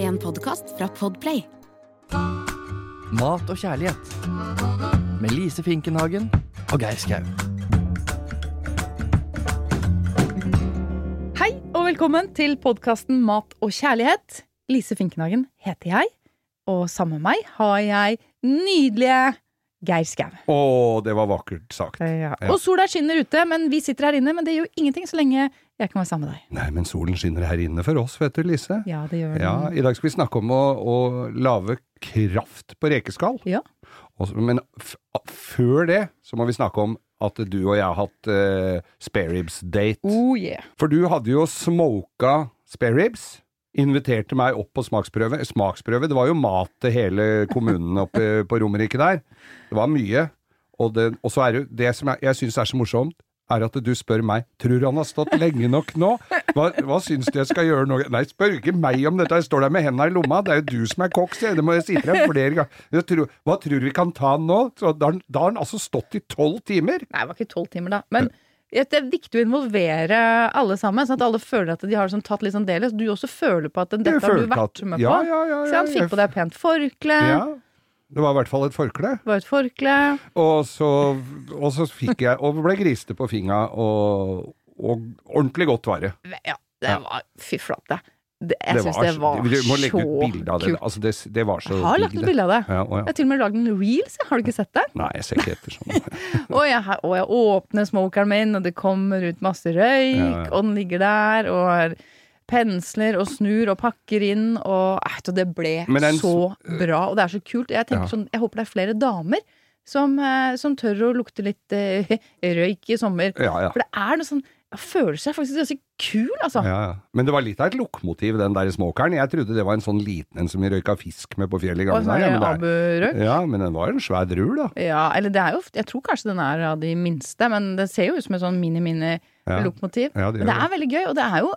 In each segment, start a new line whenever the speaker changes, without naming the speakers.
En podkast fra Podplay.
Mat og kjærlighet med Lise Finkenhagen og Geir Skau.
Hei og velkommen til podkasten Mat og kjærlighet. Lise Finkenhagen heter jeg, og sammen med meg har jeg nydelige Geir Skau.
Å, det var vakkert sagt.
Og sola skinner ute, men vi sitter her inne. Men det gjør ingenting så lenge jeg kan være sammen med deg.
Nei, men solen skinner her inne for oss, vet du, Lise.
Ja, det gjør
Ja,
den.
I dag skal vi snakke om å, å lage kraft på rekeskall.
Ja.
Og så- men f før det så må vi snakke om at du og jeg har hatt eh, spareribs-date.
Oh yeah.
For du hadde jo smoka spareribs. Inviterte meg opp på smaksprøve. Smaksprøve, det var jo mat til hele kommunen oppe på Romerike der. Det var mye. Og, det, og så er det jo det som jeg, jeg syns er så morsomt, er at du spør meg Tror han har stått lenge nok nå? Hva, hva syns du jeg skal gjøre nå? Nei, spør ikke meg om dette, jeg står der med henda i lomma, det er jo du som er kokk, sier jeg. Det må jeg si til deg flere ganger. Jeg tror, hva tror du vi kan ta han nå? Så da, har han- da har han altså stått i tolv timer!
Nei, det var ikke tolv timer, da. Men det er viktig å involvere alle sammen, sånn at alle føler at de har sånn, tatt litt sånn del i. Så du også føler på at dette har du
følte
vært
at-
med på.
Ja, ja, ja,
Se, han
ja,
fikk
jeg-
på deg pent forkle.
Ja. Det var i hvert fall et forkle.
Det var et forkle.
Og så, og så fikk jeg Og ble griste på fingra, og, og ordentlig godt var det.
Ja, det
Ja.
var Fy flate. Det, jeg syns det var
så Du må
så
legge ut bilde av det.
kult.
Altså, det, det var så
Jeg har lagt
digg,
ut
det.
bilde av det.
Ja,
Jeg
å, ja.
har til og med lagd en reels. jeg. Har du ikke sett det?
Nei, jeg ser ikke etter sånn.
Og jeg, har- og jeg åpner smokeren min, og det kommer ut masse røyk,
Ja, ja.
og den ligger der, og pensler og snur og pakker inn, og eh, så det ble
Men den-
så bra, og det er så kult. Jeg tenker
Ja.
sånn, jeg håper det er flere damer som, eh, som tør å lukte litt eh, røyk i sommer.
Ja, ja.
For det er noe sånn Jeg føler seg faktisk ganske kul, altså.
Ja, ja. Men det var litt av et lokkmotiv, den der smokeren. Jeg trodde det var en sånn liten en som vi røyka fisk med på fjellet i
og
gamle
sånn
dager.
eh, aburøyk.
Ja, men det er- ja, men den var en svær drul, da.
Ja, eller det er jo Jeg tror kanskje den er av de minste, men det ser jo ut som et sånn
Ja.
mini-mini-lokomotiv.
Ja, det
Men
gjør
det er veldig gøy, og det er jo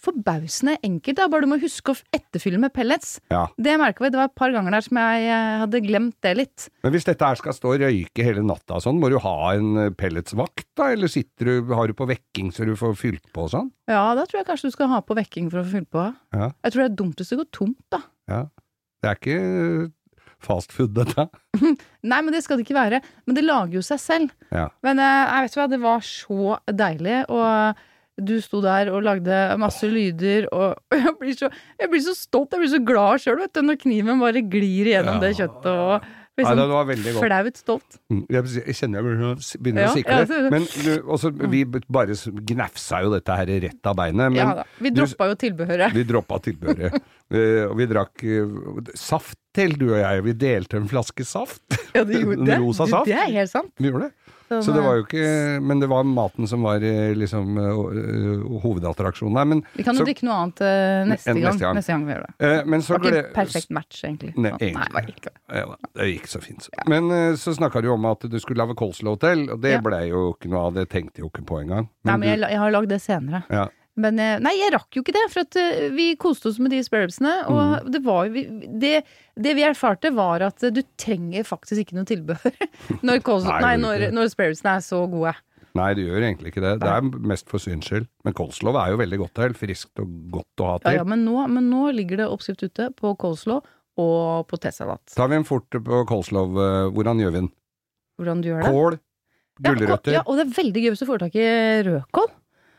forbausende enkelt. Da. Bare du må huske å etterfylle med pellets.
Ja.
Det merka vi. Det var et par ganger der som jeg eh, hadde glemt det litt.
Men hvis dette her skal stå og røyke hele natta og sånn, må du ha en eh, pelletsvakt da, eller sitter du, har du på vekking så du får fylt på og sånn?
Ja, da tror jeg kanskje du skal ha på vekking for å få fylt på.
Ja.
Jeg tror det er dumt hvis det går tomt, da.
Det er ikke eh, fast food, dette.
Nei, men det skal det ikke være. Men det lager jo seg selv.
Ja.
Men eh, jeg vet hva, det var så deilig, og du sto der og lagde masse lyder, og jeg blir så, jeg blir så stolt, jeg blir så glad sjøl, vet du, når kniven bare glir igjennom det kjøttet, og blir
Nei,
sånn
det var veldig godt.
flaut stolt.
Mm, Jeg bes- jeg kjenner jeg begynner å s- begynner
Ja,
å
ja,
sikle.
så-
men du, også, vi b- bare s- gnafsa jo dette her rett av beinet. Men
ja da. Vi
du-
droppa jo tilbehøret.
vi droppa tilbehøret. Eh, Og vi drakk eh, saft til, du og jeg. Vi delte en flaske saft.
Ja, du gjorde
en
det.
rosa
Du,
saft.
Det er helt sant.
Vi gjorde det. Så det var jo ikke Men det var maten som var eh, liksom eh, hovedattraksjonen her. Men
Vi kan jo
så-
drikke noe annet eh, neste,
En-
gang.
neste gang.
Neste gang vi gjør det.
eh, men så
Det var ikke
gle-
en perfekt match, egentlig.
Nei,
Sånn.
egentlig
Nei, det var ikke det.
Ja, da, det gikk så fint. Så. Men eh, så snakka du om at du skulle lage coleslaw til, og det
Ja.
blei jo ikke noe av. Det tenkte jeg jo ikke på engang.
Nei, men
du-
jeg, la- jeg har lagd det senere.
ja.
Men eh, nei, jeg rakk jo ikke det, for at eh, vi koste oss med de spareribsene. Og
Mm.
det, var, jo- vi- det, det vi erfarte, var at eh, du trenger faktisk ikke noe tilbehør når, kos-
Nei,
nei,
det gjør
når,
ikke det.
når spareribsene er så gode.
Nei, det gjør egentlig ikke det. Det er mest for syns skyld. Men coleslaw er jo veldig godt til. Friskt og godt å ha
Ja,
til.
ja, men, nå, men nå ligger det oppskrift ute på coleslaw og potetsalat.
Tar vi en fort på coleslaw, eh, hvordan gjør vi den?
Hvordan du gjør det?
Kål, gulrøtter
Ja, og, ja, og det er veldig gøy hvis du får tak i rødkål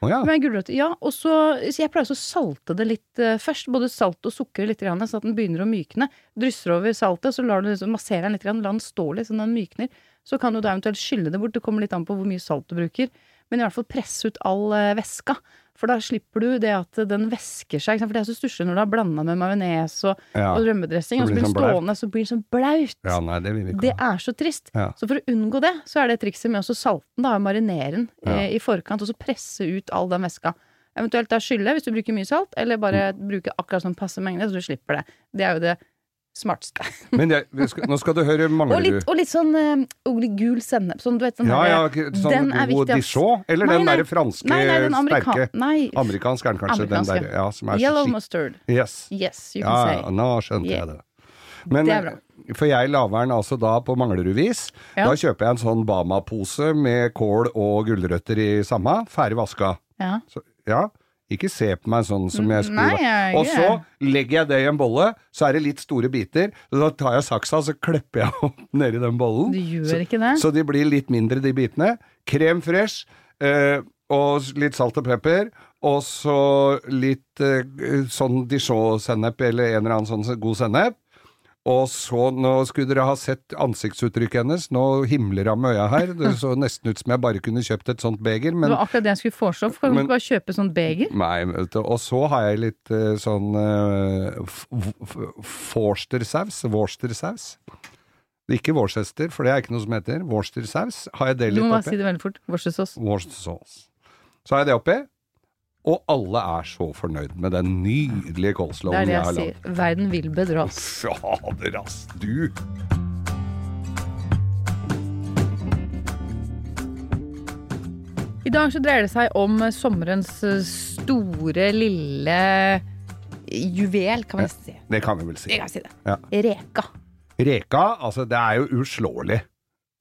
Å ja.
med gulrøtter. Ja, og så, så jeg pleier også å salte det litt eh, først. Både salt og sukker litt, grann, så at den begynner å mykne. Drysser over saltet, så lar du liksom, masserer den litt, grann, la den stå litt sånn at den mykner. Så kan du da eventuelt skylle det bort. Det kommer litt an på hvor mye salt du bruker. Men i hvert fall presse ut all eh, væska. For da slipper du det at den væsker seg. ikke sant? For det er så stusslig når du har blanda med majones og,
Ja.
og rømmedressing,
Så
og så blir
blir den
den
sånn blaut.
stående, så blir den sånn blaut.
ja, nei, det vil vi
Det
ikke ha.
er så trist.
Ja.
Så for å unngå det, så er det trikset med å salte den, da, og marinere den eh, i forkant, og så presse ut all den væska. Eventuelt da skylle hvis du bruker mye salt, eller bare
Mm.
bruke akkurat sånn passe mengde, så du slipper det. Det er jo det smarteste.
Men jeg, vi skal, nå skal du høre,
Og
mangler
litt,
du
og litt sånn eh, og litt gul sennep, sånn du vet sånn
Ja,
her,
ja, ikke- sånn
den er
god
viktig, ass.
dijon? Eller
Nei,
den
nei.
derre franske,
Nei, nei, den amerika-
sterke?
Nei,
Amerikansk er den kanskje,
Amerikansk,
den der, ja, som er så
yellow
skikk-
mustard.
Yes.
Yes, you
Ja,
can
ja,
say.
nå skjønte
Yeah.
jeg det. Men, eh,
Det er bra.
For jeg lager den altså da på Manglerudvis.
Ja.
Da kjøper jeg en sånn Bama-pose med kål og gulrøtter i samme, ferdig vaska.
Ja.
Så, ja. Ikke se på meg sånn som jeg skulle
Nei, jeg-
Og så legger jeg det i en bolle, så er det litt store biter. Så da tar jeg saksa, så klepper jeg opp nedi den bollen.
Du gjør
så,
ikke det.
Så de blir litt mindre, de bitene. Krem fresh, eh, og s- litt salt og pepper. Og så litt eh, sånn dijon-sennep, eller en eller annen sånn god sennep. Og så, nå skulle dere ha sett ansiktsuttrykket hennes, nå himler hun med øya her. Det så nesten ut som jeg bare kunne kjøpt et sånt beger,
Det
men
var akkurat det jeg skulle foreslå. for Kan du
Men-
ikke bare kjøpe sånn beger?
Nei, vet du. Og så har jeg litt eh, sånn uh, Worcester-saus. Worcester-saus. Ikke Worcester, for det er ikke noe som heter. Worcester-saus har jeg det
Du
litt
må bare
oppi.
si det veldig fort. Worcestersaus.
Worcester sauce. Så har jeg det oppi, og alle er så fornøyd med den nydelige
Det er
coleslawen
det
jeg har
jeg
lagd.
sier. Verden vil bedra oss.
Fader, ass, du!
I dag så dreier det seg om sommerens eh, store, lille eh, juvel, kan vi nesten si.
Det kan vi vel si.
Vi kan si det.
Ja.
Reka.
Reka, altså, det er jo uslåelig.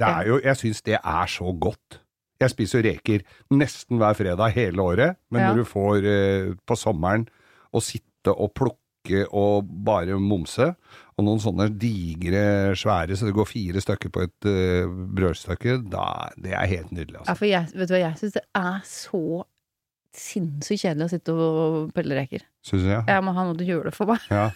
Det er jo, jeg syns det er så godt. Jeg spiser jo reker nesten hver fredag hele året, men
Ja.
når du får eh, på sommeren å sitte og plukke og bare momse, og noen sånne digre, svære, så det går fire stykker på et eh, brødstykke, da, det er helt nydelig.
Ja,
Altså.
for jeg, vet du hva, jeg syns det er så sinnssykt kjedelig å sitte og pelle reker.
Syns jeg.
Jeg må ha noe til å gjøre det for meg.
Ja.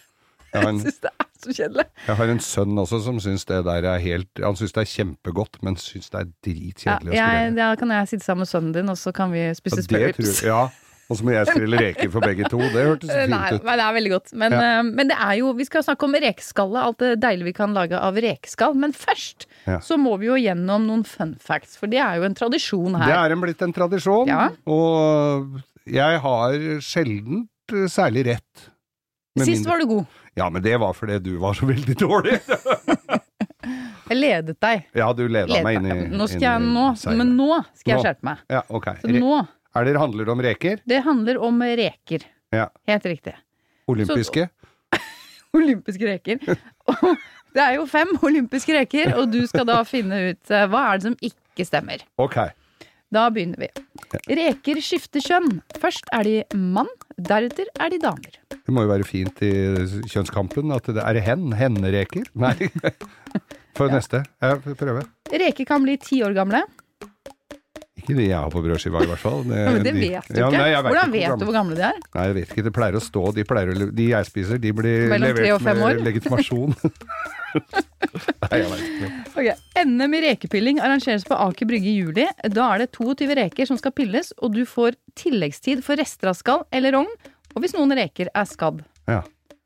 Jeg
Jeg
har, en,
syns det er så kjedelig.
jeg har en sønn også som syns det der er helt Han syns det er kjempegodt, men syns det er
Ja,
dritkjedelig å skulle
jeg, da kan jeg sitte sammen med sønnen din, og så kan vi spise
Ja, det
spurrips.
tror jeg- Ja, og så må jeg strille reker for begge to. Det hørtes
Eh, Nei,
fint ut.
men det er veldig godt. Men, eh, men det er jo, vi skal snakke om rekeskall, alt det deilige vi kan lage av rekeskall. Men først
Ja.
så må vi jo gjennom noen fun facts, for det er jo en tradisjon
Det
her.
er en blitt en tradisjon,
Ja.
og jeg har sjelden eh, særlig rett. Med
Sist
mindre-
var du god.
Ja, men det var fordi du var så veldig dårlig.
Jeg ledet deg.
Ja, du leda meg
Ledet
inn i
deg. Nå
inn
skal
i
jeg, nå,
seilet.
men nå skal jeg
Nå.
skjerpe meg.
Ja, ok.
Så nå,
Er det handler det om reker?
Det handler om reker.
Ja.
Helt riktig.
Olympiske?
Olympiske reker. Og det er jo fem olympiske reker, og du skal da finne ut eh, hva er det som ikke stemmer.
Ok.
Da begynner vi. Reker skifter kjønn. Først er de mann, deretter er de damer.
Det må jo være fint i kjønnskampen at det er hen. Hennereker? Nei. For neste. Jeg får prøve.
Reker kan bli ti år gamle.
Ikke de jeg har på brødskiva, i hvert fall. Det,
Men det
de-
vet du
Ja,
ikke.
nei, jeg vet
Hvordan
ikke
vet du hvor gamle de er?
Nei, jeg vet ikke. Det pleier å stå De, pleier å, de jeg spiser, de blir
Mellom tre og
levert
fem
med
år?
legitimasjon. Nei, jeg vet ikke.
Ok. NM i rekepilling arrangeres på Aker Brygge i juli. Da er det 22 reker som skal pilles, og du får tilleggstid for rester av skall eller rogn. Og hvis noen reker er skadd.
Ja.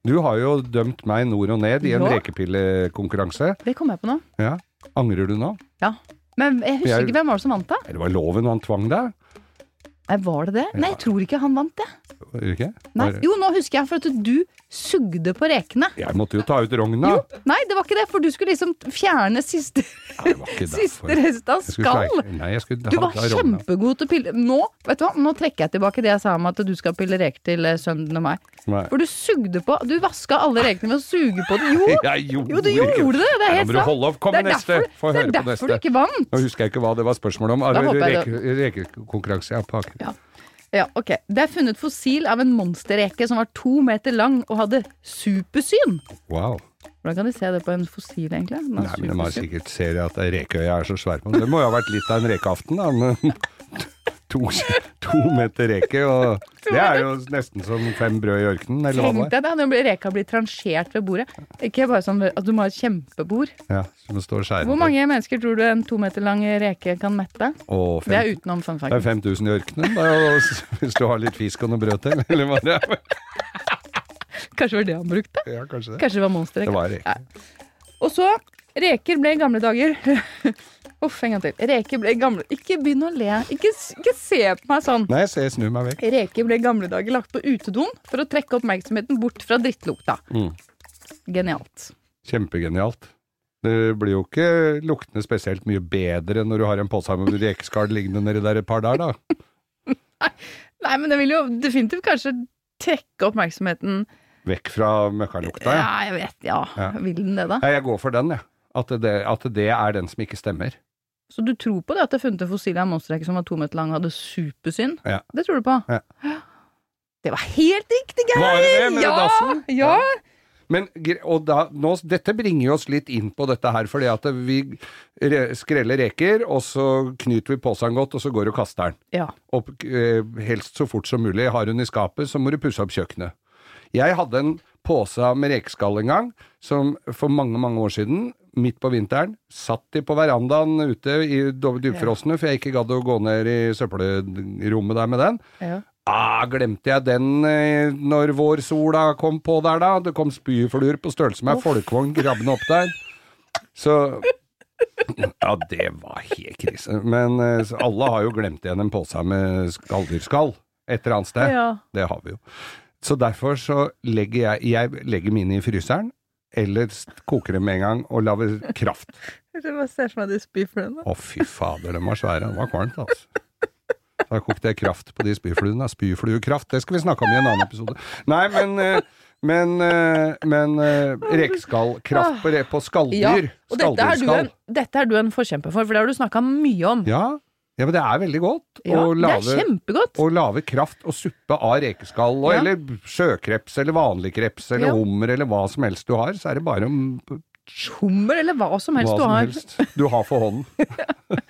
Du har jo dømt meg nord og ned i en
Ja.
rekepillekonkurranse.
Det kom jeg på nå.
Ja. Angrer du nå?
Ja. Men jeg husker
Jeg-
ikke hvem var det som vant, da?
Eller var det loven han tvang deg?
Nei, var det det? Nei, jeg tror ikke han vant det.
Var det Ikke?
Nei.
Var-
Jo, nå husker jeg, for at du sugde på rekene.
Jeg måtte jo ta ut rogna.
Jo, nei, det var ikke det, for du skulle liksom fjerne siste,
Nei, det var ikke
siste
derfor.
rest av
Jeg skulle
skall.
sleike- Nei, jeg skulle
Du
ha-
var
ha rogna.
kjempegod til å pille Nå vet du hva, nå trekker jeg tilbake det jeg sa om at du skal pille reker til eh, sønnen og meg.
Nei.
For du sugde på Du vaska alle rekene ved å suge på dem. Jo,
Jeg gjorde
jo du gjorde det! Det
Nei,
er
nå
helt
må du
sant.
holde opp. Kom
Det er
med neste.
derfor-
Få
Det
høre
er
på
derfor du
neste.
ikke vant.
Nå husker jeg ikke hva det var spørsmål om.
Da håper jeg
Reke- Rekekonkurranse, ja. På Aker.
Ja. Ja, ok. Det er funnet fossil av en monsterreke som var to meter lang og hadde supersyn.
Wow.
Hvordan kan de se det på en fossil, egentlig? Den har
Nei, men de har
supersyn.
sikkert ser at det rekeøya er så svær på den. Det må jo ha vært litt av en rekeaften, da. Men to, to meter reke, og det er jo nesten som fem brød i ørkenen, eller hva det
Tenk
var.
deg det, når reka blir transjert ved bordet. Ikke bare sånn at du må ha et kjempebord.
Ja, som det står skjæret
Hvor mange mennesker tror du en to meter lang reke kan mette?
på. Og
Det er
fem,
utenom fun
det er
fact.
5000 i ørkenen, da, og s- hvis du har litt fisk og noe brød til, eller hva det er.
Kanskje det var det han brukte?
Ja, kanskje det.
Kanskje det var
Det
monsterreka.
var reke.
Og så Reker ble i gamle dager Uff, en gang til. Reker ble i gamle Ikke begynn å le. Ikke, s- ikke se på meg sånn.
Nei, se, jeg snur meg vekk.
Reker ble i gamle dager lagt på utedoen for å trekke oppmerksomheten bort fra drittlukta.
Mm.
Genialt.
Kjempegenialt. Det blir jo ikke luktende spesielt mye bedre når du har en pose med rekeskall liggende nedi der et par dager, da.
Nei, men det vil jo definitivt kanskje trekke oppmerksomheten
Vekk fra møkkalukta, ja.
Ja, jeg vet, ja.
Ja.
Vil den det, da?
Nei, jeg går for den, jeg. At det, at det er den som ikke stemmer.
Så du tror på det at det er funnet en fossil av en monsterreke som var to meter lang og hadde supersyn?
Ja.
Det tror du på?
Ja.
Det var helt riktig, Geir!
Var det det med
ja,
dassen?
Ja!
Men, gre- og da, nå, dette bringer oss litt inn på dette her, fordi at vi re- skreller reker, og så knyter vi posen godt, og så går du og kaster den.
ja.
Og eh, helst så fort som mulig. Har hun i skapet, så må du pusse opp kjøkkenet. Jeg hadde en pose med rekeskall en gang, som for mange, mange år siden, midt på vinteren, satt de på verandaen ute i do- dypfrosne, for jeg ikke gadd å gå ned i søppelrommet der med den.
ja.
Ah, glemte jeg den eh, når vårsola kom på der, da? Det kom spyfluer på størrelse med ei folkevogn grabbende opp der. Så Ja, det var helt krise. Men eh, så alle har jo glemt igjen en pose med skalldyrskall et eller annet sted.
Ja.
Det har vi jo. Så derfor så legger jeg, jeg legger mine i fryseren, eller s- koker dem med en gang og lager kraft.
Jeg bare ser for meg de spyfluene.
Å, fy fader, de var svære. Det var kvalmt, altså. Da kokte jeg kraft på de spyfluene. da. Spyfluekraft, det skal vi snakke om i en annen episode. Nei, men eh, Men, eh, men eh, rekeskallkraft på, re- på
Ja,
skalldyr.
og dette er, du en,
Skalldyrskall.
dette er du en forkjemper for, for det har du snakka mye om.
Ja, ja, men det er veldig godt
Ja, det
å
er
lage
kjempegodt!
å lage kraft og suppe av rekeskall, og,
Ja.
eller sjøkreps, eller vanlig kreps, eller
Ja.
hummer, eller hva som helst du har, så er det bare om
Hummer eller hva som helst
hva
du
som
har.
helst du har for hånden.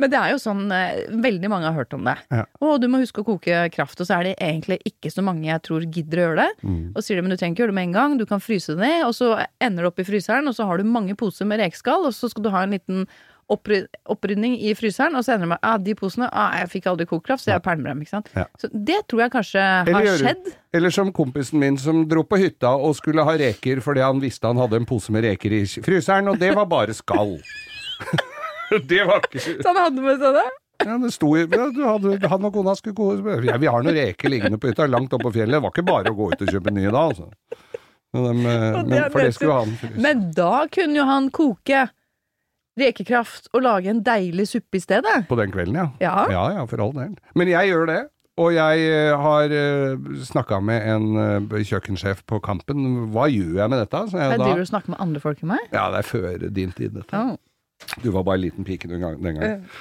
Men det er jo sånn eh, veldig mange har hørt om det.
Ja.
Å, du må huske å koke kraft, og så er det egentlig ikke så mange jeg tror gidder å gjøre det.
Mm.
Og sier de men du trenger ikke gjøre det med en gang, du kan fryse det ned, og så ender det opp i fryseren, og så har du mange poser med rekeskall, og så skal du ha en liten oppry- opprydning i fryseren, og så ender det med at ah, de posene ah, jeg fikk aldri kokt kraft, så jeg pælmer dem, ikke sant.
Ja.
Så det tror jeg kanskje
Eller,
har
gjør-
skjedd.
eller som kompisen min som dro på hytta og skulle ha reker fordi han visste han hadde en pose med reker i fryseren, og det var bare skall. det var ikke
Så han hadde med seg det?
ja, det sto, i- ja, du hadde, Han og kona skulle gå ja, Vi har noen reker liggende på hytta langt oppe på fjellet. Det var ikke bare å gå ut og kjøpe nye da, altså. Men, de, eh,
Og det er
men, for det
nettopp-
skulle han fryse.
Men da kunne jo han koke rekekraft og lage en deilig suppe i stedet.
På den kvelden, ja.
Ja.
ja, ja, for all del. Men jeg gjør det. Og jeg eh, har snakka med en eh, kjøkkensjef på Kampen. Hva gjør jeg med dette? Så jeg,
Jeg
da,
driver og snakker med andre folk enn meg.
ja, det er før din tid, dette.
Oh.
Du var bare en liten pike den gang- den gangen.
Eh,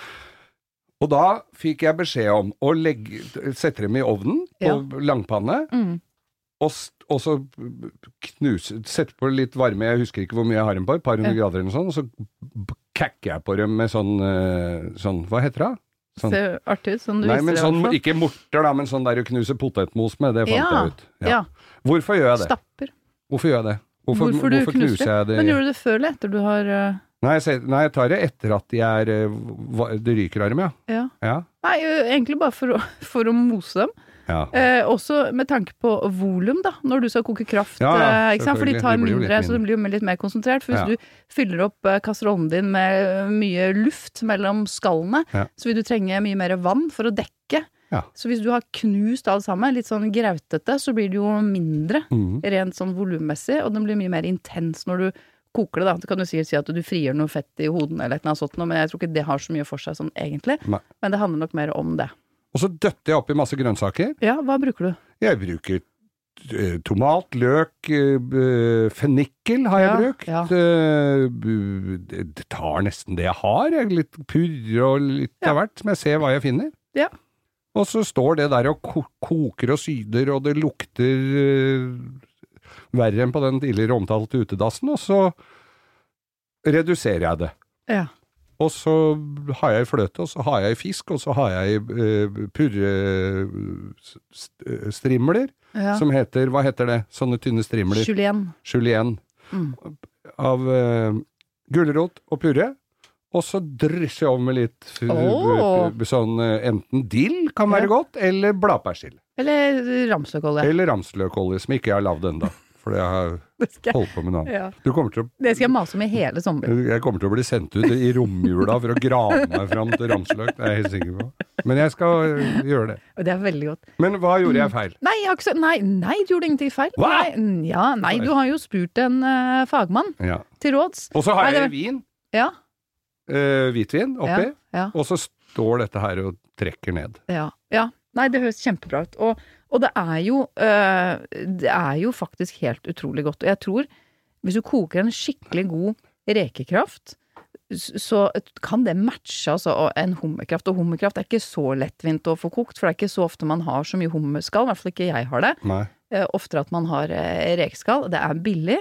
Og da fikk jeg beskjed om å legge, sette dem i ovnen på
Ja.
langpanne,
Mm.
og, s- og så knuse, sette på litt varme, jeg husker ikke hvor mye jeg har dem på, et par hundre grader eller noe sånt, og så b- kakker jeg på dem med sånn, eh, sånn hva heter det? Sånn-
Ser artig ut, som du
Nei, men
viser
sånn,
det. i hvert fall.
ikke morter da, men sånn der du knuser potetmos med, det fant
Ja,
jeg ut.
ja.
Hvorfor gjør jeg det?
Stapper.
Hvorfor gjør jeg det? Hvorfor,
Hvorfor du knuser
knuser jeg det?
Men gjør du det før eller etter du har øh,
Nei, jeg ser- nei, jeg tar det etter at de er, eh, hva- det ryker av dem, ja.
Ja.
Ja.
Nei, øh, egentlig bare for å, for å mose dem.
ja.
Eh, også med tanke på volum, da, når du skal koke kraft.
Ja, ja,
eh, ikke sant? For de
selvfølgelig.
tar
De blir jo litt
mindre, så de blir jo litt mer konsentrert. For hvis
Ja.
du fyller opp eh, kasserollen din med eh, mye luft mellom skallene,
Ja.
så vil du trenge mye mer vann for å dekke.
Ja.
Så hvis du har knust alt sammen, litt sånn grautete, så blir det jo mindre.
Mhm.
rent sånn volummessig, og den blir mye mer intens når du koker det. da. Du kan jo sikkert si at du frigjør noe fett i hodene, eller et eller annet sånt, noe, men jeg tror ikke det har så mye for seg sånn egentlig.
Nei.
Men det handler nok mer om det.
Og så døtter jeg oppi masse grønnsaker.
Ja, hva bruker du?
Jeg bruker eh, tomat, løk, eh, b- fennikel har jeg
Ja,
brukt.
ja.
Eh, bu- Det det tar nesten det jeg har. Jeg. Litt purre og litt av hvert, som jeg ser hva jeg finner.
Ja.
Og så står det der og ko- koker og syder, og det lukter eh, verre enn på den tidligere omtalte utedassen, og så reduserer jeg det.
Ja.
Og så har jeg fløte, og så har jeg fisk, og så har jeg uh, purrestrimler,
ja.
eh, som heter Hva heter det? Sånne tynne strimler.
Julienne.
Julienne.
Mm.
Av eh, gulrot og purre. Og så drysser jeg over med litt fu-
Åh.
bu- bu- sånn eh, enten dill kan være
Ja.
godt, eller bladpersille.
Eller ramsløkolje.
Eller ramsløkolje, som ikke jeg har lagd ennå. Fordi jeg har
Det skal,
holdt på med noe annet.
ja.
Du kommer til å
det skal jeg mase om i hele sommer.
jeg kommer til å bli sendt ut i romjula for å grave meg fram til ramsløk, det er jeg helt sikker på. Men jeg skal eh, gjøre det.
Og det er veldig godt.
Men hva gjorde jeg feil?
Nei, jeg har ikke, så- nei, nei du gjorde ingenting feil.
Hva?
Nei, mm, ja, nei, du har jo spurt en eh, fagmann
Ja.
til råds.
Og så har
Nei,
jeg
det-
vin,
Ja,
eh, hvitvin,
ja,
oppi,
ja.
og så står dette her og trekker ned.
Ja. ja. Nei, det høres kjempebra ut. Og, og det er jo øh, Det er jo faktisk helt utrolig godt. Og jeg tror, hvis du koker en skikkelig god rekekraft så kan det matche altså, og en hummerkraft. Og hummerkraft er ikke så lettvint å få kokt, for det er ikke så ofte man har så mye hummerskall. I hvert fall ikke jeg har det.
Nei.
Eh, Oftere at man har eh, rekeskall. Det er billig,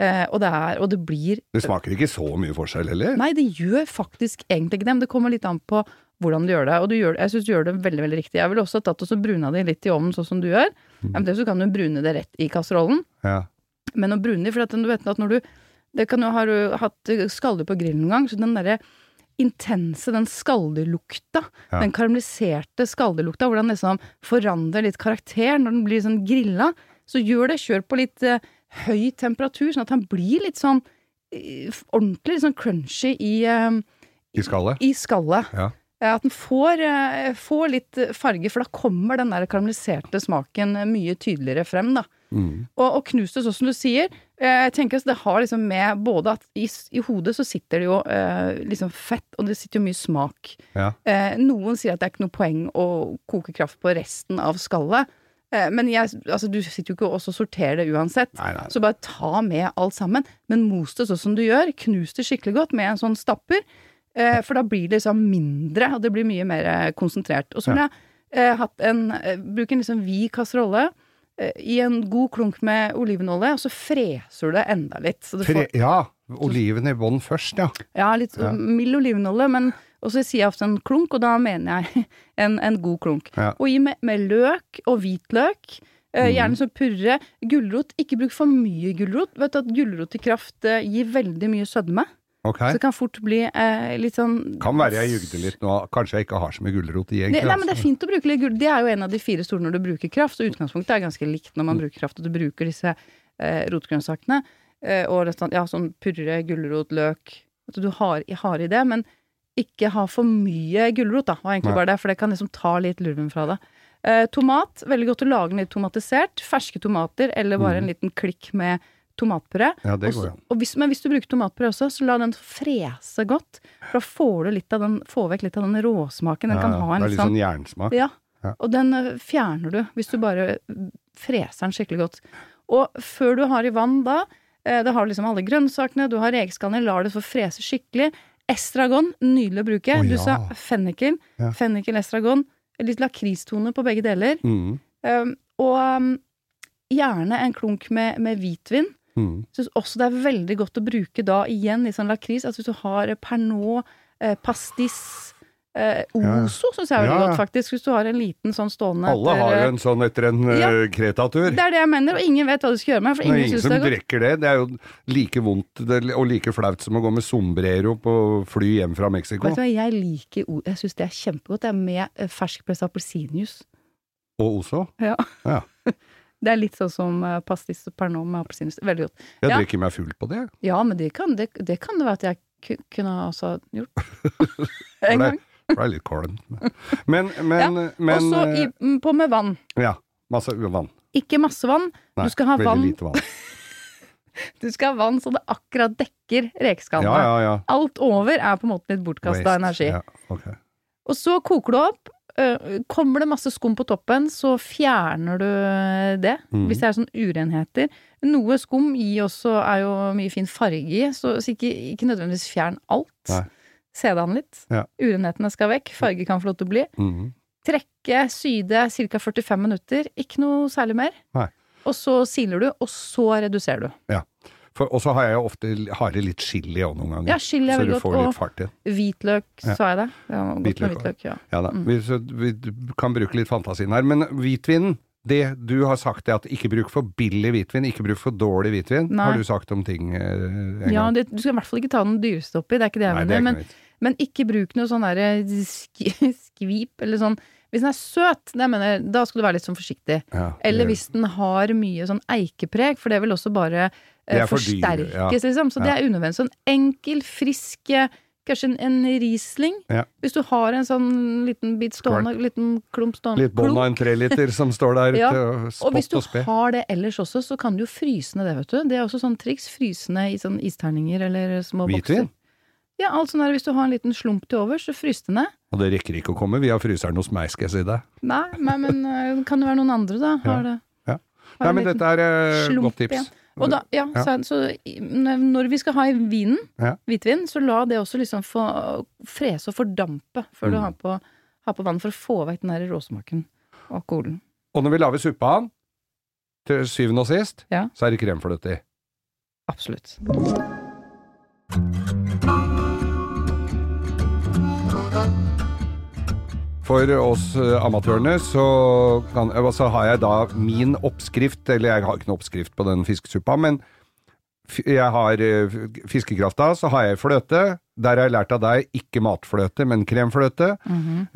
eh, og det, er, og det blir
Det smaker ikke så mye forskjell heller.
Nei, det gjør faktisk egentlig ikke det, men det kommer litt an på hvordan du gjør det. Og du gjør, jeg syns du gjør det veldig veldig riktig. Jeg ville også tatt og så bruna det litt i ovnen, sånn som du gjør. Eventuelt så kan du brune det rett i kasserollen,
Ja.
men å brune det For at du vet at når du det kan jo, Har du hatt skalldyr på grillen noen gang, så den derre intense, den skalldyrlukta,
Ja.
den karamelliserte skalldyrlukta, hvordan liksom forandrer litt karakter når den blir sånn grilla, så gjør det. Kjør på litt eh, høy temperatur, sånn at han blir litt sånn eh, ordentlig litt sånn crunchy i eh,
I skallet.
i skallet.
Ja.
Eh, At den får, eh, får litt farge, for da kommer den der karamelliserte smaken eh, mye tydeligere frem. da.
Mm.
Og, og knust det sånn som du sier. eh, Jeg tenker altså, Det har liksom med både at i, s- i hodet så sitter det jo eh, liksom fett, og det sitter jo mye smak.
Ja.
Eh, noen sier at det er ikke noe poeng å koke kraft på resten av skallet. Eh, men jeg, altså, du sitter jo ikke og også sorterer det uansett.
Nei, nei.
Så bare ta med alt sammen. Men mos det sånn som du gjør. Knus det skikkelig godt med en sånn stapper. Eh, for da blir det liksom mindre, og det blir mye mer eh, konsentrert. Og så vil jeg eh, hatt en, eh, bruke en liksom vid kasserolle eh, i en god klunk med olivenolje, og så freser du det enda litt. Så du
Tre,
får
ja. Oliven i bånn først, ja.
ja, litt
Ja.
mild olivenolje, men og så sier jeg ofte en klunk, og da mener jeg en, en god klunk.
Ja. Mm.
Og gi med, med løk og hvitløk. eh, Gjerne så purre. Gulrot. Ikke bruk for mye gulrot. Vet du at gulrot i kraft eh, gir veldig mye sødme?
Ok.
Så det kan fort bli eh, litt sånn
Kan være jeg jugde litt nå. Kanskje jeg ikke har så mye gulrot
det,
i, egentlig.
nei, men det er
altså.
fint å bruke litt gulrot. Det er jo en av de fire store når du bruker kraft, og utgangspunktet er ganske likt
Mm.
når man bruker kraft, og du bruker disse eh, rotgrønnsakene. Eh, og litt sånn, ja, sånn purre, gulrot, løk At du har, har i det, men ikke ha for mye gulrot, da. Var egentlig
Nei.
bare det, for det kan liksom ta litt lurven fra det. Eh, tomat. Veldig godt å lage den litt tomatisert. Ferske tomater, eller bare en liten klikk med tomatpuré.
Ja, Mm. det
Og så-
går an.
og hvis, men hvis du bruker tomatpuré også, så la den frese godt. For da får du litt av den, får vekk litt av den råsmaken. Den
Ja,
kan
ja.
ha en
det er
litt
litt
sånn
sånn jernsmak.
ja.
Ja.
Og den ø, fjerner du hvis du bare freser den skikkelig godt. Og før du har i vann da, eh, da har du liksom alle grønnsakene, du har rekeskallene, lar det få frese skikkelig. Estragon, nydelig å bruke.
Å,
Du
ja.
sa fennikel.
Ja.
Fennikel, estragon. Litt lakristone på begge deler.
Mm.
Um, og um, gjerne en klunk med, med hvitvin.
Mm.
Syns også det er veldig godt å bruke da igjen litt sånn lakris. Altså hvis du har eh, pernod, eh, pastis eh,
ja.
Ozo syns jeg er veldig
Ja, ja.
godt, faktisk. Hvis du har en liten sånn stående
Alle har jo
etter, eh,
en sånn etter en
Ja.
eh, Kreta-tur.
Det er det jeg mener, og ingen vet hva du skal gjøre med for
Det er
ingen
ingen
syns
som
det er godt.
drikker det. Det er jo like vondt det- og like flaut som å gå med sombrero på fly hjem fra Mexico.
Vet du hva, jeg liker o- Jeg syns det er kjempegodt. Det er med eh, ferskpressa appelsinjuice.
Og Ozo.
Ja.
Ja.
Det er litt sånn som eh, pastis og pernod med appelsinjuice. Veldig godt.
Jeg
Ja.
drikker meg full på det.
Ja, men det kan det, det, kan det være at jeg ku- kunne også gjort.
For
en
det-
gang.
for det er litt kålen. Men, men, men
Og så
eh,
i- mm, på med vann.
Ja. Masse vann.
Ikke masse vann.
Nei,
Du skal ha
veldig
vann.
lite vann.
Du skal ha vann så det akkurat dekker rekeskallene.
Ja, ja, ja.
Alt over er på en måte litt bortkasta
Waste.
energi.
Ja, ok.
Og så koker du opp. øh, Kommer det masse skum på toppen, så fjerner du det.
Mhm.
Hvis det er sånn urenheter. Noe skum gir også, er jo mye fin farge i, så, så ikke, ikke nødvendigvis fjern alt.
Nei.
Se det an litt.
Ja.
Urenhetene skal vekk. Farge kan få lov til å bli.
Mhm.
Trekke, syde ca. 45 minutter. Ikke noe særlig mer.
Nei.
Og så siler du, og så reduserer du.
For- Og så har jeg jo ofte har jeg litt chili òg noen ganger.
Ja, chili er
så du
veldig
får litt
godt.
fart i den.
Og hvitløk,
Ja.
sa jeg det? Ja, godt med
Hvitløk også.
hvitløk ja.
Ja da.
Mm.
Vi, så, vi kan bruke litt fantasien her. Men hvitvinen, det du har sagt er at ikke bruk for billig hvitvin, ikke bruk for dårlig hvitvin.
Nei.
Har du sagt om ting eh, en
ja
gang?
det, du skal i hvert fall ikke ta den dyreste oppi, det er ikke det jeg
Nei, det
mener. Men,
er ikke noe vits.
Men ikke bruk noe sånn derre sk skvip eller sånn. Hvis den er søt, det mener, jeg, da skal du være litt sånn forsiktig.
Ja, det
Eller
gjør
hvis den har mye sånn eikepreg, for det vil også bare
Det
eh,
er for dyr,
forsterkes,
ja.
liksom. Så det er unødvendig. Sånn enkel, frisk eh, Kanskje en, en Riesling.
Ja.
Hvis du har en sånn liten bit stående, liten klump stående
Litt bånd av en treliter som står der
Ja,
ute og
og hvis du
spott og spe.
har det ellers også, så kan du jo fryse ned det, vet du. Det er også sånn triks. Fryse ned i sånn isterninger eller små
Hvitvin?
bokser. Ja, alt sånn der hvis du har en liten slump til overs, så frys det ned.
Og det rekker ikke å komme via fryseren hos meg, skal jeg si deg.
Nei, nei men øh, kan eh, det være noen andre, da? Har det
Ja.
har
Nei,
en
men
liten
dette er eh,
slump
godt tips.
igjen. Og da, ja,
Ja.
Så, så i- når vi skal ha i vinen,
Ja.
hvitvin, så la det også liksom få frese og fordampe før du
Mm.
har på, har på vann, for å få vekk den der råsmaken og alkoholen.
Og når vi lager suppehann, til syvende og sist,
Ja.
så er det kremfløte i.
Absolutt.
For oss eh, amatørene så, kan, eh, så har jeg da min oppskrift, eller jeg har ikke noen oppskrift på den fiskesuppa, men f- jeg har eh, f- fiskekrafta, så har jeg fløte. Der har jeg lært av deg ikke matfløte, men kremfløte.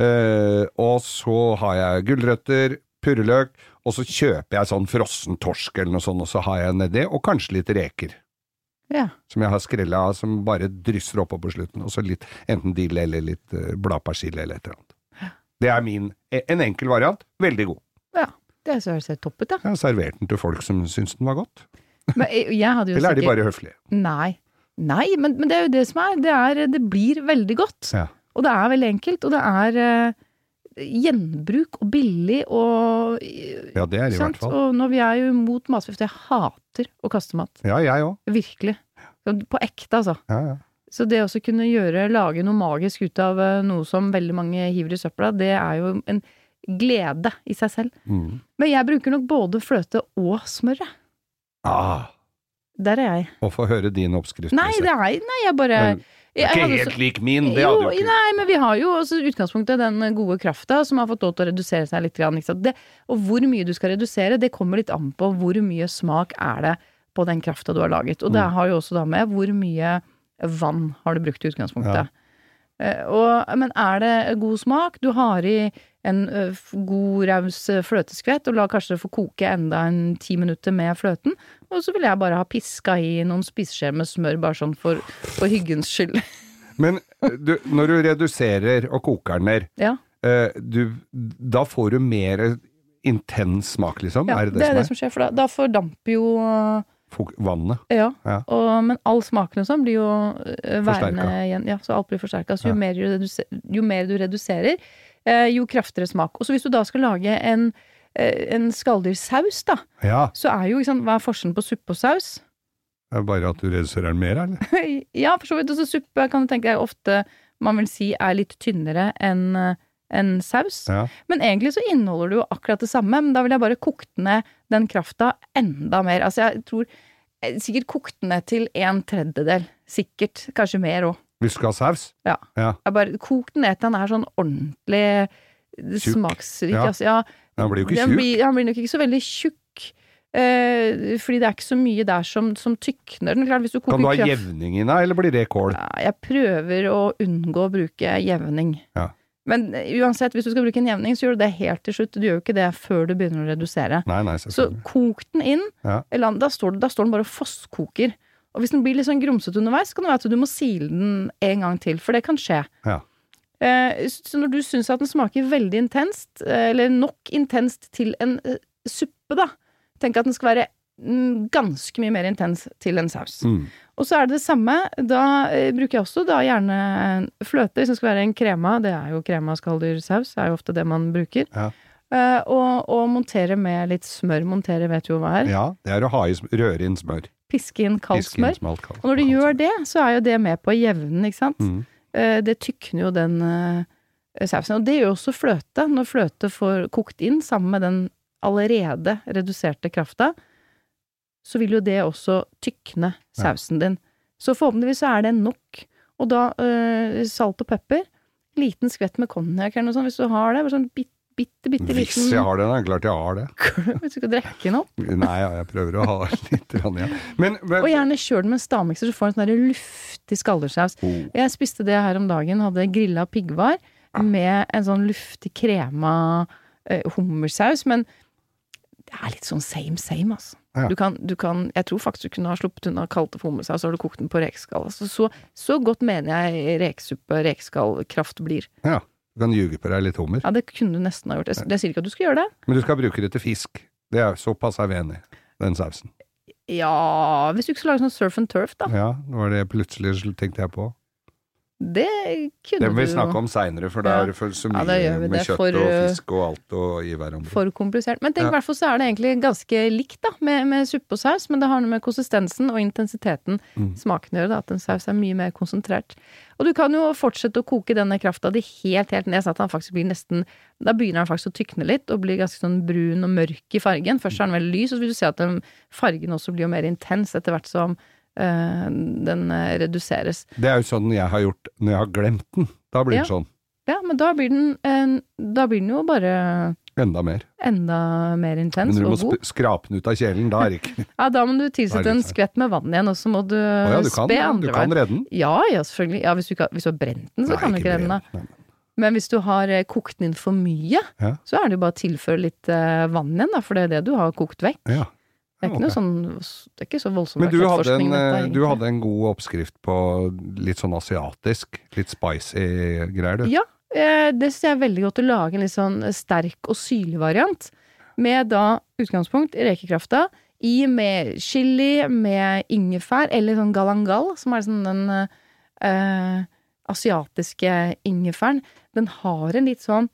Eh, og så har jeg gulrøtter, purreløk, og så kjøper jeg sånn frossen torsk eller noe sånt, og så har jeg nedi, og kanskje litt reker.
Ja.
Som jeg har skrella av, som bare drysser oppå på slutten. Og så litt, enten dill eller litt eh, bladpersille eller et eller annet. Det er min, e, en enkel variant. Veldig god.
ja. Det høres helt topp ut, ja.
Jeg har servert den til folk som syns den var godt.
Men jeg, jeg hadde jo
Eller er de
sikkert-
bare høflige?
Nei. Nei, men, men det er jo det som er. Det, er. det blir veldig godt.
Ja.
Og det er veldig enkelt. Og det er eh, gjenbruk og billig og eh,
Ja, det er det i
sant?
hvert fall.
Og når vi er jo imot matforgiftning Jeg hater å kaste mat.
Ja, jeg òg.
Virkelig. På ekte, altså.
Ja, ja.
Så det å også kunne gjøre, lage noe magisk ut av eh, noe som veldig mange hiver i søpla, det er jo en glede i seg selv.
Mm.
Men jeg bruker nok både fløte og smør, jeg.
Ah,
Der er jeg.
å få høre din oppskrift.
Nei,
Lise.
det er Nei, jeg bare
Men
jeg
Ikke
hadde så-
helt lik min, det hadde jo ikke
Nei, men vi har jo også i utgangspunktet den gode krafta som har fått lov til å redusere seg litt. Grann, ikke sant? Det, og hvor mye du skal redusere, det kommer litt an på hvor mye smak er det på den krafta du har laget. Og det har jo også da med hvor mye vann har du brukt i utgangspunktet. Eh, Og, men er det god smak? Du har i en ø, f- god, raus ø, fløteskvett, og la kanskje det få koke enda en ti minutter med fløten. Og så vil jeg bare ha piska i noen spiseskjeer med smør, bare sånn for, for hyggens skyld.
Men eh, du, når du reduserer og koker den ned,
ja.
eh, du, da får du mer intens smak, liksom?
Ja,
er det det, som er?
skjer, for da, da fordamper jo øh,
Fok- Vannet.
Ja.
Ja.
Og, men all smaken og sånn blir jo øh, værende
Forsterka.
igjen. Ja, så alt blir forsterka. Så jo,
Ja.
mer du reduser, jo mer du reduserer, eh, jo kraftigere smak. Og så hvis du da skal lage en, eh, en skalldyrsaus, da,
Ja,
så er jo ikke sant, Hva er forskjellen på suppe og saus?
det er bare at du reduserer den mer, eller?
ja, for så vidt. Og så suppe kan du tenke deg ofte man vil si er litt tynnere enn eh, enn saus.
Ja.
Men egentlig så inneholder det jo akkurat det samme, men da vil jeg bare kokt ned den krafta enda mer. Altså jeg tror eh, sikkert kokt ned til en tredjedel. Sikkert. Kanskje mer òg.
Hvis du skal ha saus?
Ja.
Ja,
Jeg bare kokt ned til han er sånn ordentlig
Tjukk.
smaksrik.
Ja.
Altså, ja,
Den blir jo ikke
den
tjukk.
blir, han blir nok ikke så veldig tjukk. Eh, fordi det er ikke så mye der som, som tykner den. Klart, hvis du koker
Kan du ha
kraft-
jevning i den, eller blir det kål?
ja, jeg prøver å unngå å bruke jevning.
Ja.
Men eh, uansett, hvis du skal bruke en jevning, så gjør du det helt til slutt. Du gjør jo ikke det før du begynner å redusere.
Nei, nei,
Så
selvfølgelig.
kok den inn.
Ja.
eller an- Da, står, det- da står den bare og fosskoker. Og hvis den blir litt sånn grumsete underveis, så kan det være at du må sile den en gang til, for det kan skje.
Ja.
Eh, Så så når du syns at den smaker veldig intenst, eh, eller nok intenst til en eh, suppe, da Tenk at den skal være mm, ganske mye mer intens til en saus.
Mm.
Og så er det det samme. Da eh, bruker jeg også da gjerne en fløte hvis det skal være en krema. Det er jo krema skalldyrssaus, er jo ofte det man bruker.
Ja.
Eh, og, og montere med litt smør. Montere vet jo hva er.
Ja, det er å ha i, sm- røre inn smør.
Piske inn kaldt
Piske inn
smør.
smalt kald-
Og når du
kaldt
gjør
smør.
det, så er jo det med på å jevne den, ikke sant.
Mm.
Eh, det tykner jo den eh, sausen. Og det gjør jo også fløte. Når fløte får kokt inn sammen med den allerede reduserte krafta, så vil jo det også tykne sausen din. Så forhåpentligvis så er det nok. Og da eh, salt og pepper. Liten skvett med konjakk eller noe sånt, hvis du har det. Bare sånn bitte, bitte, bitte
Hvis
liten
jeg har det, da. Klart jeg har det.
Hvis du skal drikke den opp.
Nei, ja, jeg prøver å ha litt grann igjen. Men,
Og
men
gjerne kjør den med en stavmikser, så får du en sånn der luftig skalldersaus.
Oh.
Jeg spiste det her om dagen, hadde grilla piggvar
Ah.
med en sånn luftig krema eh, hummersaus, men det er litt sånn same same, altså.
Ja.
Du kan, du kan, jeg tror faktisk du kunne ha sluppet unna kalt det for hummersaus, så har du kokt den på rekeskall. Altså, så, så godt mener jeg rekesuppe, rekeskallkraft blir.
ja, du kan ljuge på deg litt hummer.
Ja, det kunne du nesten ha gjort. Jeg, s- jeg sier ikke at du skal gjøre det.
Men du skal bruke det til fisk. Det er Såpass er vi enig. Den sausen.
Ja, hvis du ikke skal lage sånn surf and turf, da.
Ja, det var det jeg plutselig tenkte jeg på.
Det kunne
Det må vi
du jo-
snakke om seinere, for
Ja.
det er så
Ja,
mye
det gjør vi.
med
Det er
kjøtt
for,
og
eh,
fisk og alt og i hverandre.
For komplisert. Men tenk,
Ja.
i hvert fall så er det egentlig ganske likt da, med, med suppe og saus, men det har noe med konsistensen og intensiteten
Mm.
smaken å gjøre, da, at en saus er mye mer konsentrert. Og du kan jo fortsette å koke denne krafta di helt, helt ned, sånn at han faktisk blir nesten Da begynner han faktisk å tykne litt og blir ganske sånn brun og mørk i fargen. Først er den veldig lys, og så vil du se at den fargen også blir jo mer intens etter hvert som eh, den eh, reduseres.
Det er jo sånn jeg har gjort når jeg har glemt den. Da blir det sånn.
Ja, men da blir den, eh, da blir den jo bare
Enda mer.
enda mer
Men
intens
når du må
og god.
sp skrape den ut av kjelen, da er det ikke
Ja, da må du
Da
tilsette
er det
en
litt
skvett med vann igjen, og så må du,
Å ja, du kan,
spe
du
andre
kan
veien.
redde den.
Ja, ja, selvfølgelig. Ja, hvis, du ikke, har- hvis du har brent den, så
Nei,
kan du ikke redde den. da.
bli Nei, nei.
Men hvis du har eh, kokt den inn for mye,
Ja.
så er det jo bare å tilføre litt eh, vann igjen, da, for det er det du har kokt vekk.
Ja.
Det er ikke,
Ja,
noe sånn, det er ikke så voldsom
Men du hadde, en,
rakettforskning, dette,
eh, du
egentlig.
hadde en god oppskrift på litt sånn asiatisk, litt spicy greier, du.
Ja, eh, det syns jeg er veldig godt å lage en litt sånn sterk og syrlig variant. Med da utgangspunkt i rekekrafta, i med chili, med ingefær, eller sånn galangal, som er sånn den eh, eh, asiatiske ingefæren. Den har en litt sånn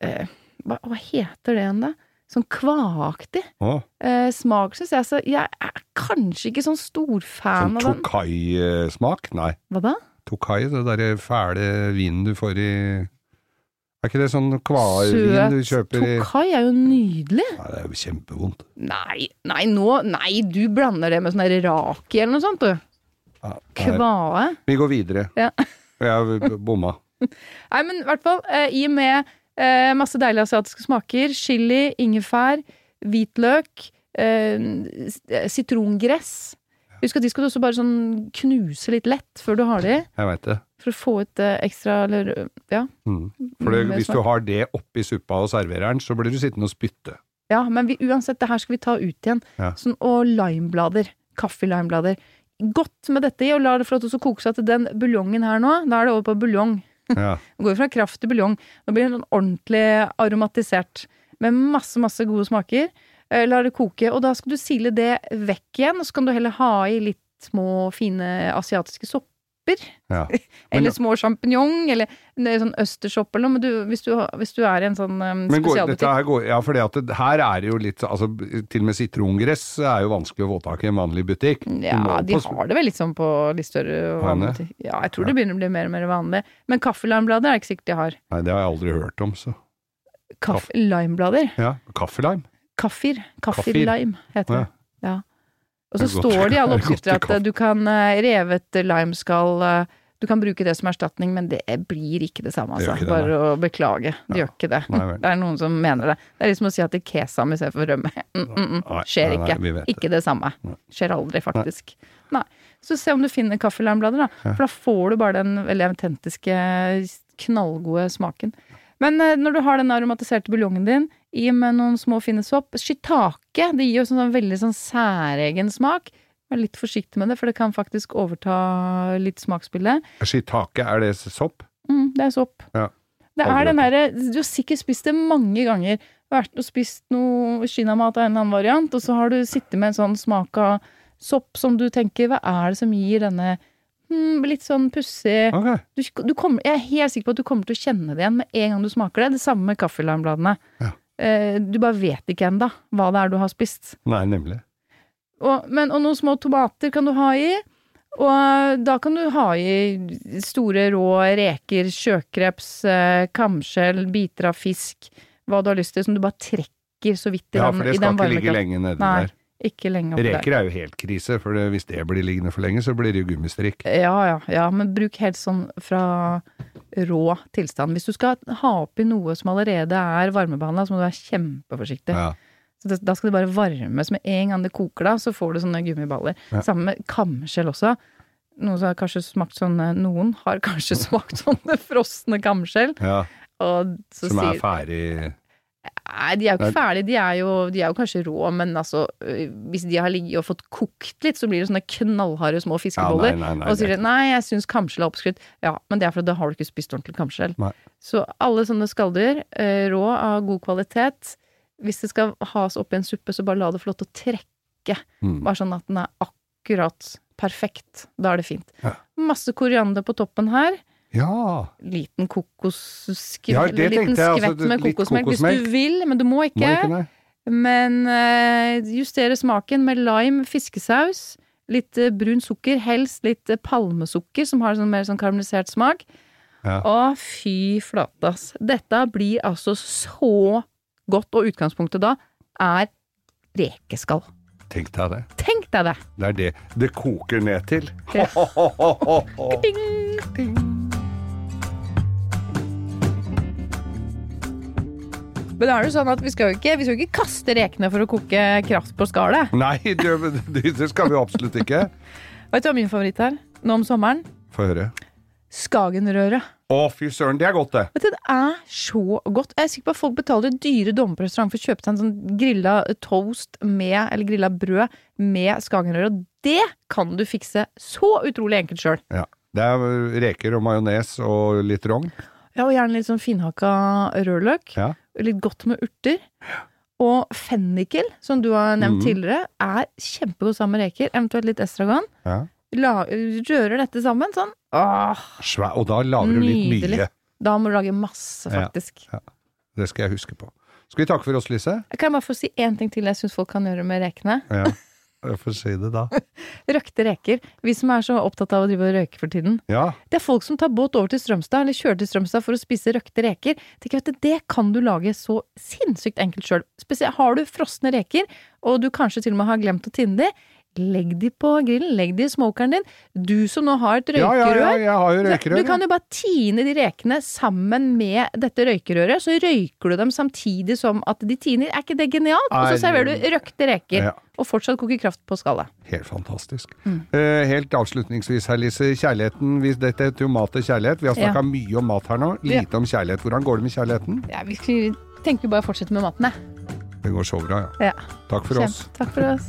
eh, hva, hva heter det igjen, da? Sånn kvaaktig
Å,
eh, smak, syns jeg. Så jeg er kanskje ikke sånn stor fan
sånn
av den.
tokai-smak? Nei.
Hva da?
Tokai, det derre fæle vinen du får i Er ikke det sånn kvaevin du kjøper i
tokai er jo nydelig.
Nei, det er jo kjempevondt.
Nei, nei, nå, nei, du blander det med sånn der raki eller noe sånt, du.
Ja, det er-
Kvae.
vi går videre.
Ja.
Jeg b- bomma.
Nei, men i hvert fall, eh, i og med eh, masse deilige asiatiske smaker, chili, ingefær, hvitløk, eh, s- eh, sitrongress Husk at de skal du også bare sånn knuse litt lett før du har de,
Jeg veit det.
for å få ut eh, ekstra eller eh, ja.
Mm. For det,
mer
hvis du
smak.
har det oppi suppa og serverer den, så blir du sittende og spytte.
Ja, men vi, uansett, det her skal vi ta ut igjen.
Ja.
Sånn, og limeblader. Kaffe-limeblader. Godt med dette i, og la det få lov til å koke seg til den buljongen her nå. Da er det over på buljong.
Ja.
Det går fra kraft til buljong. Nå blir den ordentlig aromatisert. Med masse, masse gode smaker. Eh, La det koke, og da skal du sile det vekk igjen. Og så kan du heller ha i litt små, fine asiatiske sopper.
Ja. Men-
Eller små sjampinjong, eller en sånn østerssopp eller noe. Men du, hvis, du, har- hvis du er i en sånn um,
Men går, dette
spesialbutikk
her går, ja, for det at det, her er det jo litt altså, Til og med sitrongress er jo vanskelig å få tak i i en vanlig butikk. Du må
ja, de
på-
har det vel litt sånn på litt større
Har de
vanlig- Ja, jeg tror det begynner å bli mer og mer vanlig. Men kaffelimeblader er det ikke sikkert de har.
Nei, det har jeg aldri hørt om, så.
Kaff limeblader.
Ja, Kaffelime?
Kaffir.
Kaffir.
Kaffir-lime heter det.
Ja.
Ja. Og så
Det er godt.
står det i alle
Det er godt
oppskrifter
med
at
kaffe.
eh, du kan eh, revet lime skal eh, Du kan bruke det som erstatning, men det blir ikke det samme,
Det gjør
altså.
ikke det,
Bare å beklage. Det gjør ikke det.
Nei vel.
Det er noen som mener det. Det er liksom å si at det er kesam istedenfor rømme. Mm, mm, mm.
Nei,
Skjer
nei, nei,
ikke.
vi vet det.
Ikke det samme.
Nei.
Skjer aldri, faktisk. Nei. Så se om du finner kaffelimeblader, da. For da får du bare den veldig autentiske, knallgode smaken. Men eh, når du har den aromatiserte buljongen din, i med noen små fine sopp Shiitake, det gir jo sånn, sånn veldig sånn særegen smak. Vær litt forsiktig med det, for det kan faktisk overta litt smaksbildet.
Shiitake, er det sopp?
Mm, det er sopp.
Ja.
Det
Aldri
er den
hørt
derre Du har sikkert spist det mange ganger. Vært og spist noe kinamat av en eller annen variant, og så har du sittet med en sånn smak av sopp som du tenker Hva er det som gir denne mm, litt sånn pussig
Ok.
du, du kommer, Jeg er helt sikker på at du kommer til å kjenne det igjen med en gang du smaker det. Det samme med kaffelarmbladene.
Ja.
Eh, du bare vet ikke ennå hva det er du har spist.
Nei, nemlig.
Og, men, og noen små tomater kan du ha i. Og da kan du ha i store rå reker, sjøkreps, eh, kamskjell, biter av fisk, hva du har lyst til, som du bare trekker så vidt i
Ja, for
den,
det
i
skal
den
ikke ligge
varmekraften.
lenge nedi
Nei,
der.
ikke lenge oppi der.
Reker er jo helt krise, for det, hvis det blir liggende for lenge, så blir det jo gummistrikk.
Ja, ja, ja, men bruk helt sånn fra rå tilstand. Hvis du skal ha oppi noe som allerede er varmebehandla, så må du være kjempeforsiktig.
Ja.
Så det, da skal det bare varmes. Med en gang det koker, da, så får du sånne gummiballer.
Ja.
Sammen med kamskjell også. Noen som har kanskje smakt sånn Noen har kanskje smakt sånne frosne kamskjell.
Ja,
Og så
som er
sier
ferdig
Nei, de er jo ikke ferdige. De er jo, de er jo kanskje rå, men altså øh, Hvis de har ligget og fått kokt litt, så blir det sånne knallharde små
ja, nei,
fiskeboller.
nei, nei,
Og sier
det-
de, nei, jeg syns kamskjell er oppskrytt. Ja, men det er fordi da har du ikke spist ordentlig kamskjell.
Nei.
Så alle sånne skalldyr, eh, rå av god kvalitet, hvis det skal has oppi en suppe, så bare la det få lov til å trekke.
Mm.
Bare sånn at den er akkurat Perfekt. Da er det fint.
Ja.
Masse koriander på toppen her.
Ja.
Liten kokosskvett
Ja, det
eller liten
tenkte jeg, altså,
skvett
det-
med
litt
kokosmelk, hvis
kokosmelk.
du vil, men du må ikke.
Må ikke det?
Men eh, justere smaken med lime, fiskesaus, litt eh, brun sukker, helst litt eh, palmesukker, som har sånn mer sånn karamellisert smak.
Ja.
Å, fy flate, ass. Dette blir altså så godt, og utgangspunktet da er rekeskall.
Tenk deg det.
Tenk deg det!
Det er det det koker ned til.
Ja.
Ding.
Men da er det jo sånn at vi skal jo ikke, vi skal jo ikke kaste rekene for å koke kraft på skallet.
Nei, det, det det skal vi absolutt ikke.
Vet du hva min favoritt er? Nå om sommeren?
Få høre.
Skagenrøre.
Å, fy søren, det er godt, det.
Vet du, det er så godt. Jeg er sikker på at folk betaler dyre dommer på restaurant for å kjøpe seg en sånn grilla toast med, eller grilla brød med skagenrøre. Og det kan du fikse så utrolig enkelt sjøl.
Ja. Det er reker og majones og litt rogn.
Ja, og gjerne litt sånn finhakka rødløk.
Ja.
Litt godt med urter. Og fennikel, som du har nevnt
Mhm.
tidligere, er kjempegodt sammen med reker. Eventuelt litt estragon.
Ja.
La, rører dette sammen sånn. Åh,
Svær, og da lager du litt
Nydelig.
mye.
da må du lage masse,
Ja.
faktisk.
Det skal jeg huske på. Skal vi takke for oss, Lise?
Jeg kan bare få si én ting til jeg syns folk kan gjøre med rekene.
Ja. Jeg får si det da.
Røkte reker. Vi som er så opptatt av å drive og røyke for tiden.
Ja.
Det er folk som tar båt over til Strømstad, eller kjører til Strømstad for å spise røkte reker. Tenker at Det kan du lage så sinnssykt enkelt sjøl. Spesielt har du frosne reker, og du kanskje til og med har glemt å tinne de, legg de på grillen, legg de i smokeren din. Du som nå har et
Ja, ja,
røykerør.
ja, jeg har jo røykerør.
Du kan jo bare tine de rekene sammen med dette røykerøret, så røyker du dem samtidig som at de tiner. Er ikke det genialt? Og
Nei,
så serverer du røkte reker,
Ja.
og fortsatt koker kraft på skallet.
Helt fantastisk.
Mm.
Eh, helt avslutningsvis her, Lise. Kjærligheten vi, Dette heter jo mat og kjærlighet. Vi har snakka mye om mat her nå.
Ja.
Lite om kjærlighet. Hvordan går det med kjærligheten?
Ja, vi tenker jo bare å fortsette med maten, jeg.
Det går så bra, ja.
Ja.
Takk for oss.
Kjempe. Takk for oss.